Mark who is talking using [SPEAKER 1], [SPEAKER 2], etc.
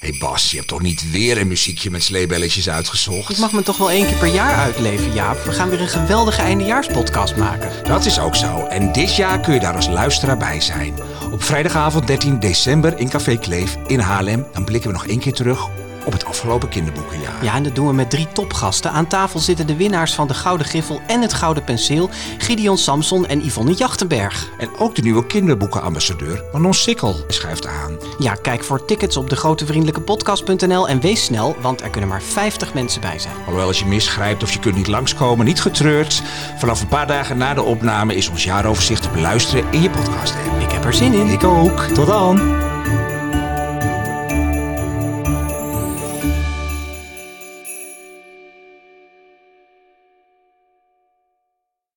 [SPEAKER 1] Hé Bas, je hebt toch niet weer een muziekje met sleebelletjes uitgezocht?
[SPEAKER 2] Ik mag me toch wel één keer per jaar uitleven, Jaap. We gaan weer een geweldige eindejaarspodcast maken.
[SPEAKER 1] Dat is ook zo. En dit jaar kun je daar als luisteraar bij zijn. Op vrijdagavond 13 december in Café Kleef in Haarlem. Dan blikken we nog één keer terug op het afgelopen kinderboekenjaar.
[SPEAKER 2] Ja, en dat doen we met drie topgasten. Aan tafel zitten de winnaars van de Gouden Griffel en het Gouden Penseel... Gideon Samson en Yvonne Jachtenberg.
[SPEAKER 1] En ook de nieuwe kinderboekenambassadeur Manon Sikkel schrijft aan.
[SPEAKER 2] Ja, kijk voor tickets op degrotevriendelijkepodcast.nl en wees snel, want er kunnen maar 50 mensen bij zijn.
[SPEAKER 1] Alhoewel als je misgrijpt of je kunt niet langskomen, niet getreurd. Vanaf een paar dagen na de opname is ons jaaroverzicht te beluisteren in je podcast app.
[SPEAKER 2] Ik heb er zin in.
[SPEAKER 1] Ik ook. Tot dan.